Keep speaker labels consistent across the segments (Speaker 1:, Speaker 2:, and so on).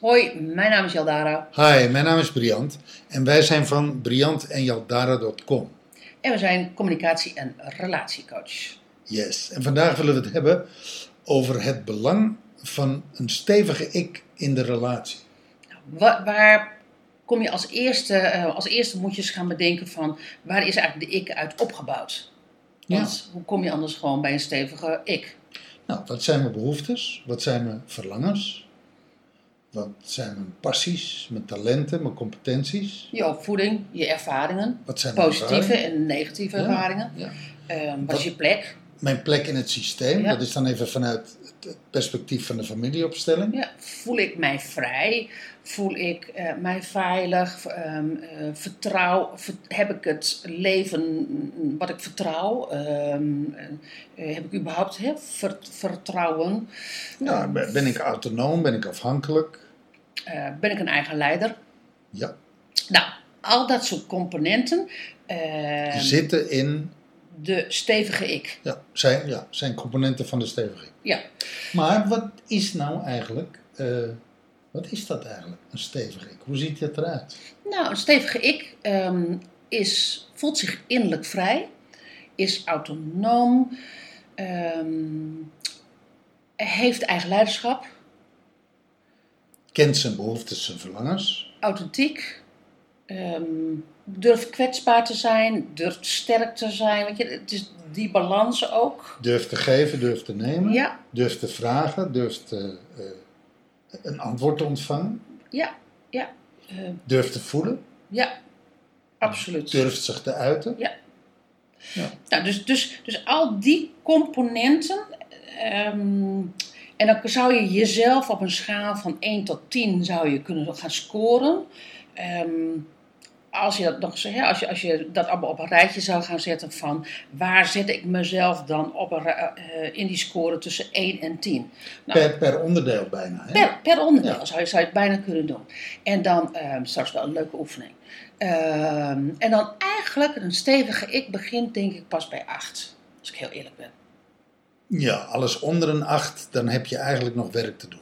Speaker 1: Hoi, mijn naam is Jaldara
Speaker 2: Hi, mijn naam is Briant en wij zijn van Briant en Jaldara.com.
Speaker 1: en we zijn communicatie- en relatiecoach.
Speaker 2: Yes, en vandaag willen we het hebben over het belang van een stevige ik in de relatie.
Speaker 1: Wa- waar kom je als eerste, eh, als eerste moet je eens gaan bedenken van waar is eigenlijk de ik uit opgebouwd? Want hoe kom je anders gewoon bij een stevige ik?
Speaker 2: Nou, wat zijn mijn behoeftes? Wat zijn mijn verlangens? Wat zijn mijn passies, mijn talenten, mijn competenties?
Speaker 1: Je opvoeding, je ervaringen,
Speaker 2: Wat zijn mijn
Speaker 1: positieve
Speaker 2: ervaringen?
Speaker 1: en negatieve
Speaker 2: Ja.
Speaker 1: ervaringen.
Speaker 2: Ja.
Speaker 1: Eh, wat
Speaker 2: Wat-
Speaker 1: is je plek?
Speaker 2: Mijn plek in het systeem,
Speaker 1: Ja.
Speaker 2: dat is dan even vanuit het perspectief van de familieopstelling.
Speaker 1: Ja, voel ik mij vrij? Voel ik eh, mij veilig? Ehm, eh, vertrouw, ver- heb ik het leven mm, wat ik vertrouw? Ehm, eh, heb ik überhaupt hè, ver- vertrouwen?
Speaker 2: Nou, ben ben ik autonoom, ben ik afhankelijk?
Speaker 1: Eh, ben ik een eigen leider?
Speaker 2: Ja,
Speaker 1: Nou, al dat soort componenten. ehm,
Speaker 2: zitten in
Speaker 1: de stevige ik.
Speaker 2: Ja, zijn, ja, zijn componenten van de steviging.
Speaker 1: Ja.
Speaker 2: Maar wat is nou eigenlijk, eh, wat is dat eigenlijk, een steviging? Hoe ziet dat eruit?
Speaker 1: Nou, een stevige ik ehm, is, voelt zich innerlijk vrij, is autonoom, ehm, heeft eigen leiderschap,
Speaker 2: Kent zijn behoeftes, zijn verlangens.
Speaker 1: authentiek, ehm, durft kwetsbaar te zijn, durft sterk te zijn. Weet je, het is die balans ook.
Speaker 2: Durft te geven, durft te nemen.
Speaker 1: Ja,
Speaker 2: Durft te vragen, durft eh, eh, een antwoord te ontvangen.
Speaker 1: ja, ja, eh,
Speaker 2: Durft te voelen,
Speaker 1: ja, absoluut.
Speaker 2: durft zich te uiten.
Speaker 1: Nou, dus, dus, dus al die componenten. ehm, en dan zou je jezelf op een schaal van 1 tot 10 zou je kunnen gaan scoren. Ehm, als je, dat nog, zo- hè, als, je, als je dat allemaal op een rijtje zou gaan zetten van waar zet ik mezelf dan op een, ra- eh, in die score tussen 1 en 10. Nou.
Speaker 2: Per, per onderdeel bijna. Hè?
Speaker 1: Per, per onderdeel
Speaker 2: Ja.
Speaker 1: zou, je, zou je het bijna kunnen doen. En dan, ehm, straks wel een leuke oefening. Ehm, en dan eigenlijk een stevige ik begint denk ik pas bij 8. Als ik heel eerlijk ben.
Speaker 2: Ja, alles onder een acht, dan heb je eigenlijk nog werk te doen.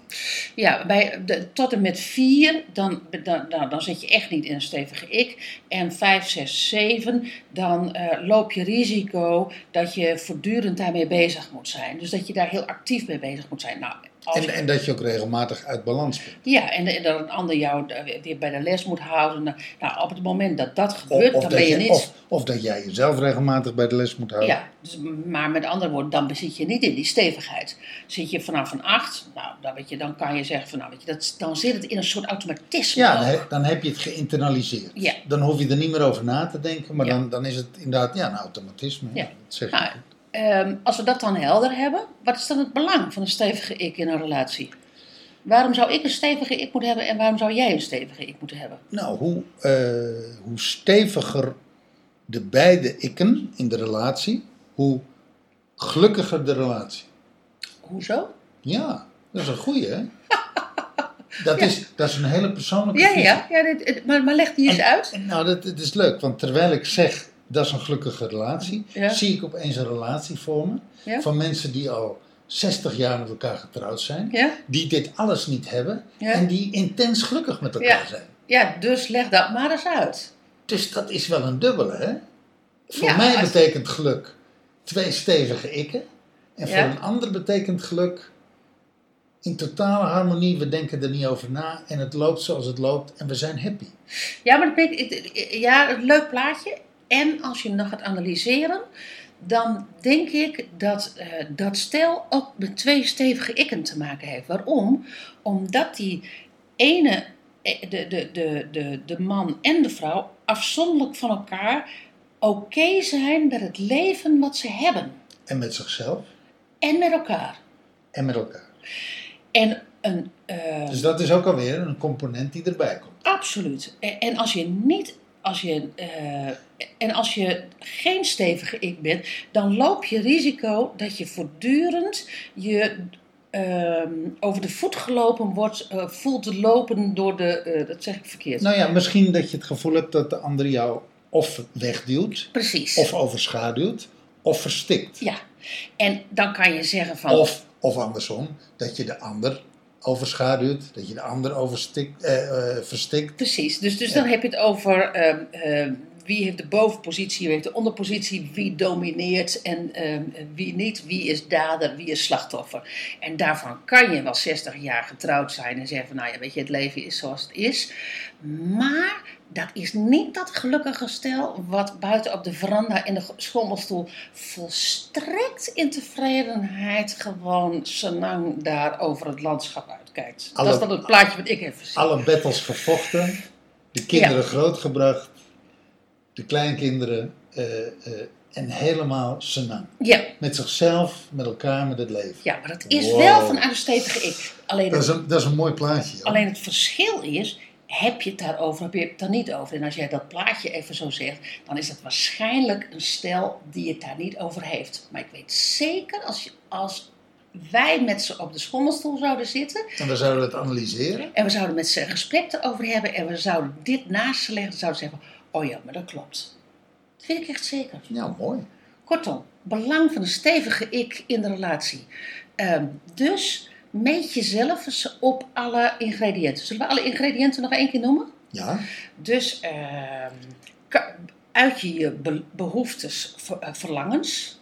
Speaker 1: Ja, bij de, tot en met 4, dan, dan, dan, dan zit je echt niet in een stevige ik. En 5, 6, 7, dan eh, loop je risico dat je voortdurend daarmee bezig moet zijn. Dus dat je daar heel actief mee bezig moet zijn. Nou, als
Speaker 2: En, en dat je ook regelmatig uit balans bent.
Speaker 1: Ja, en, en dat een ander jou eh, weer bij de les moet houden. Nou, Nou, op het moment dat dat
Speaker 2: Of,
Speaker 1: gebeurt,
Speaker 2: of
Speaker 1: dan
Speaker 2: dat
Speaker 1: ben je
Speaker 2: je,
Speaker 1: niet.
Speaker 2: of, of dat jij jezelf regelmatig bij de les moet houden.
Speaker 1: ja, dus, maar met andere woorden, dan zit je niet in die stevigheid. Zit je vanaf een acht, nou, dan, weet je, dan kan je zeggen van, nou, weet je, dat, dan zit het in een soort automatisme.
Speaker 2: Ja,
Speaker 1: ook.
Speaker 2: dan he- dan heb je het geïnternaliseerd.
Speaker 1: Ja.
Speaker 2: Dan hoef je er niet meer over na te denken, maar
Speaker 1: Ja.
Speaker 2: dan, dan is het inderdaad ja, een automatisme. Ja.
Speaker 1: Ja.
Speaker 2: Dat zeg je
Speaker 1: Nou,
Speaker 2: goed.
Speaker 1: Ehm, als we dat dan helder hebben, wat is dan het belang van een stevige ik in een relatie? Waarom zou ik een stevige ik moeten hebben en waarom zou jij een stevige ik moeten hebben?
Speaker 2: Nou, hoe, eh, hoe steviger de beide ikken in de relatie, hoe gelukkiger de relatie.
Speaker 1: Hoezo?
Speaker 2: Ja, dat is een goeie, hè? Dat,
Speaker 1: Ja.
Speaker 2: is, dat is een hele persoonlijke
Speaker 1: Ja,
Speaker 2: visie.
Speaker 1: ja, ja dit- het- maar, maar leg die eens
Speaker 2: En-
Speaker 1: uit.
Speaker 2: En Nou, dat, dat is leuk, want terwijl ik zeg dat is een gelukkige relatie,
Speaker 1: Ja.
Speaker 2: zie ik opeens een relatie vormen
Speaker 1: Ja.
Speaker 2: van mensen die al 60 jaar met elkaar getrouwd zijn,
Speaker 1: Ja?
Speaker 2: die dit alles niet hebben
Speaker 1: Ja.
Speaker 2: en die intens gelukkig met elkaar
Speaker 1: Ja.
Speaker 2: zijn.
Speaker 1: Ja, dus leg dat maar eens uit.
Speaker 2: Dus dat is wel een dubbele, hè? Voor
Speaker 1: Ja,
Speaker 2: mij
Speaker 1: als-
Speaker 2: betekent geluk twee stevige ikken en
Speaker 1: Ja.
Speaker 2: voor een ander betekent geluk in totale harmonie, we denken er niet over na en het loopt zoals het loopt en we zijn happy.
Speaker 1: Ja, maar dat ben ik- ik- ik- ja, een leuk plaatje. En als je hem dan gaat analyseren, dan denk ik dat eh, dat stel ook met twee stevige ikken te maken heeft. Waarom? Omdat die ene, eh, de, de, de, de, de man en de vrouw, afzonderlijk van elkaar oké zijn met het leven wat ze hebben.
Speaker 2: En met zichzelf
Speaker 1: En met elkaar.
Speaker 2: en met elkaar.
Speaker 1: En een. eh,
Speaker 2: Dus dat is ook alweer een component die erbij komt.
Speaker 1: Absoluut. En, en als je niet. Als je, eh, en als je geen stevige ik bent, dan loop je risico dat je voortdurend je ehm, over de voet gelopen wordt, eh, voelt te lopen door de. eh, dat zeg ik verkeerd.
Speaker 2: Nou ja, misschien dat je het gevoel hebt dat de ander jou of wegduwt,
Speaker 1: Precies.
Speaker 2: of overschaduwt, of verstikt.
Speaker 1: ja. En dan kan je zeggen van.
Speaker 2: Of, of andersom, dat je de ander overschaduwt, dat je de ander overstikt, eh, eh, verstikt.
Speaker 1: Precies, dus, dus dan heb je het over eh, eh, wie heeft de bovenpositie, wie heeft de onderpositie, wie domineert en eh, wie niet, wie is dader, wie is slachtoffer. En daarvan kan je wel 60 jaar getrouwd zijn en zeggen van nou ja, weet je, het leven is zoals het is. Maar dat is niet dat gelukkige stel wat buiten op de veranda in de schommelstoel volstrekt in tevredenheid gewoon senang daar over het landschap uitkijkt.
Speaker 2: Alle-
Speaker 1: dat is dan het plaatje wat ik heb gezien.
Speaker 2: Alle battles gevochten, de kinderen grootgebracht, de kleinkinderen eh, eh, en helemaal senang.
Speaker 1: Ja,
Speaker 2: Met zichzelf, met elkaar, met het leven.
Speaker 1: Ja, maar dat is
Speaker 2: Wow.
Speaker 1: wel vanuit een stevige ik. Alleen
Speaker 2: Dat, is
Speaker 1: het,
Speaker 2: een, dat is een mooi plaatje. hoor.
Speaker 1: alleen het verschil is, heb je het daarover, heb je het daar niet over. En als jij dat plaatje even zo zegt, dan is dat waarschijnlijk een stel die het daar niet over heeft. Maar ik weet zeker, als, je, als wij met ze op de schommelstoel zouden zitten
Speaker 2: En we zouden dat analyseren.
Speaker 1: en we zouden met ze een gesprek erover hebben en we zouden dit naast ze leggen, dan zouden ze zeggen, oh ja, maar dat klopt. Dat vind ik echt zeker.
Speaker 2: Ja, mooi.
Speaker 1: Kortom, belang van een stevige ik in de relatie. Ehm, dus meet jezelf eens op alle ingrediënten. Zullen we alle ingrediënten nog één keer noemen?
Speaker 2: Ja,
Speaker 1: Dus ehm, ka- uit je je be- behoeftes, ver- eh, verlangens.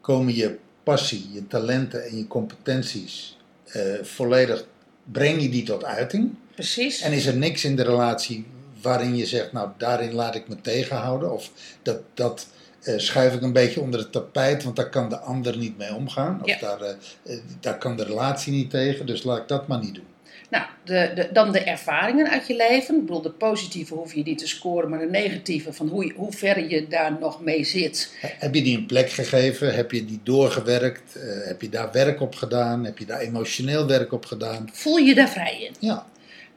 Speaker 2: komen je passie, je talenten en je competenties eh, volledig, breng je die tot uiting?
Speaker 1: Precies.
Speaker 2: En is er niks in de relatie waarin je zegt, nou daarin laat ik me tegenhouden of dat, dat eh, schuif ik een beetje onder het tapijt, want daar kan de ander niet mee omgaan of
Speaker 1: Ja.
Speaker 2: daar, eh, eh, daar kan de relatie niet tegen, dus laat ik dat maar niet doen.
Speaker 1: Nou, de, de, dan de ervaringen uit je leven. Ik bedoel, de positieve hoef je niet te scoren, maar de negatieve van hoe, je- hoe ver je daar nog mee zit.
Speaker 2: Heb je die een plek gegeven? Heb je die doorgewerkt? Eh, heb je daar werk op gedaan? Heb je daar emotioneel werk op gedaan?
Speaker 1: Voel je je daar vrij in.
Speaker 2: Ja,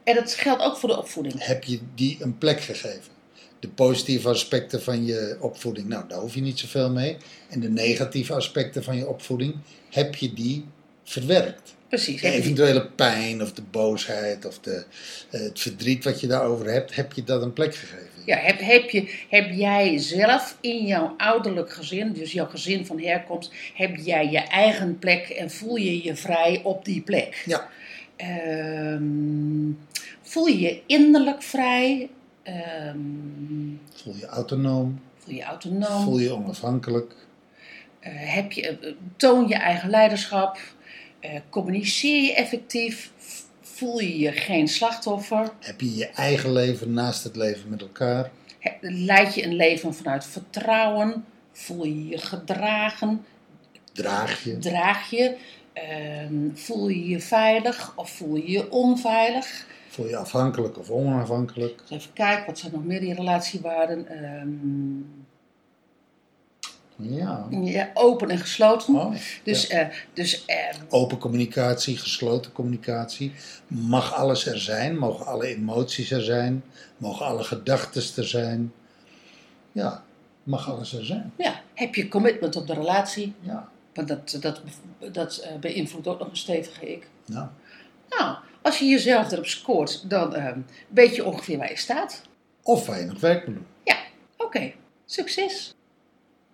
Speaker 1: En dat geldt ook voor de opvoeding.
Speaker 2: heb je die een plek gegeven? De positieve aspecten van je opvoeding, nou daar hoef je niet zoveel mee. En de negatieve aspecten van je opvoeding, heb je die verwerkt?
Speaker 1: Precies.
Speaker 2: De eventuele pijn of de boosheid of de, eh, het verdriet wat je daarover hebt, heb je dat een plek gegeven?
Speaker 1: Ja, heb, heb, je, heb jij zelf in jouw ouderlijk gezin, dus jouw gezin van herkomst, heb jij je eigen plek en voel je je vrij op die plek?
Speaker 2: Ja.
Speaker 1: Ehm, voel je je innerlijk vrij? Ehm,
Speaker 2: Voel je autonoom?
Speaker 1: voel je je autonoom?
Speaker 2: Voel je onafhankelijk?
Speaker 1: Eh, heb je, eh, toon je eigen leiderschap? Eh, communiceer je effectief? V- Voel je je geen slachtoffer?
Speaker 2: Heb je je eigen leven naast het leven met elkaar?
Speaker 1: He- Leid je een leven vanuit vertrouwen? Voel je je gedragen?
Speaker 2: Draag je?
Speaker 1: draag je? ehm, voel je je veilig of voel je je onveilig?
Speaker 2: Voel je afhankelijk of onafhankelijk?
Speaker 1: Dus even kijken, wat zijn nog meer die relatiewaarden? Ehm,
Speaker 2: Ja.
Speaker 1: ja, open en gesloten.
Speaker 2: Mooi.
Speaker 1: dus eh, dus eh,
Speaker 2: open communicatie, gesloten communicatie. Mag alles er zijn? Mogen alle emoties er zijn? Mogen alle gedachten er zijn? Ja, mag alles er zijn.
Speaker 1: ja, heb je commitment op de relatie?
Speaker 2: Ja,
Speaker 1: Want dat, dat, dat eh, beïnvloedt ook nog een stevige ik.
Speaker 2: nou,
Speaker 1: Nou, als je jezelf erop scoort, dan ehm, weet je ongeveer waar je staat.
Speaker 2: of waar je nog werk moet doen.
Speaker 1: Oké, succes!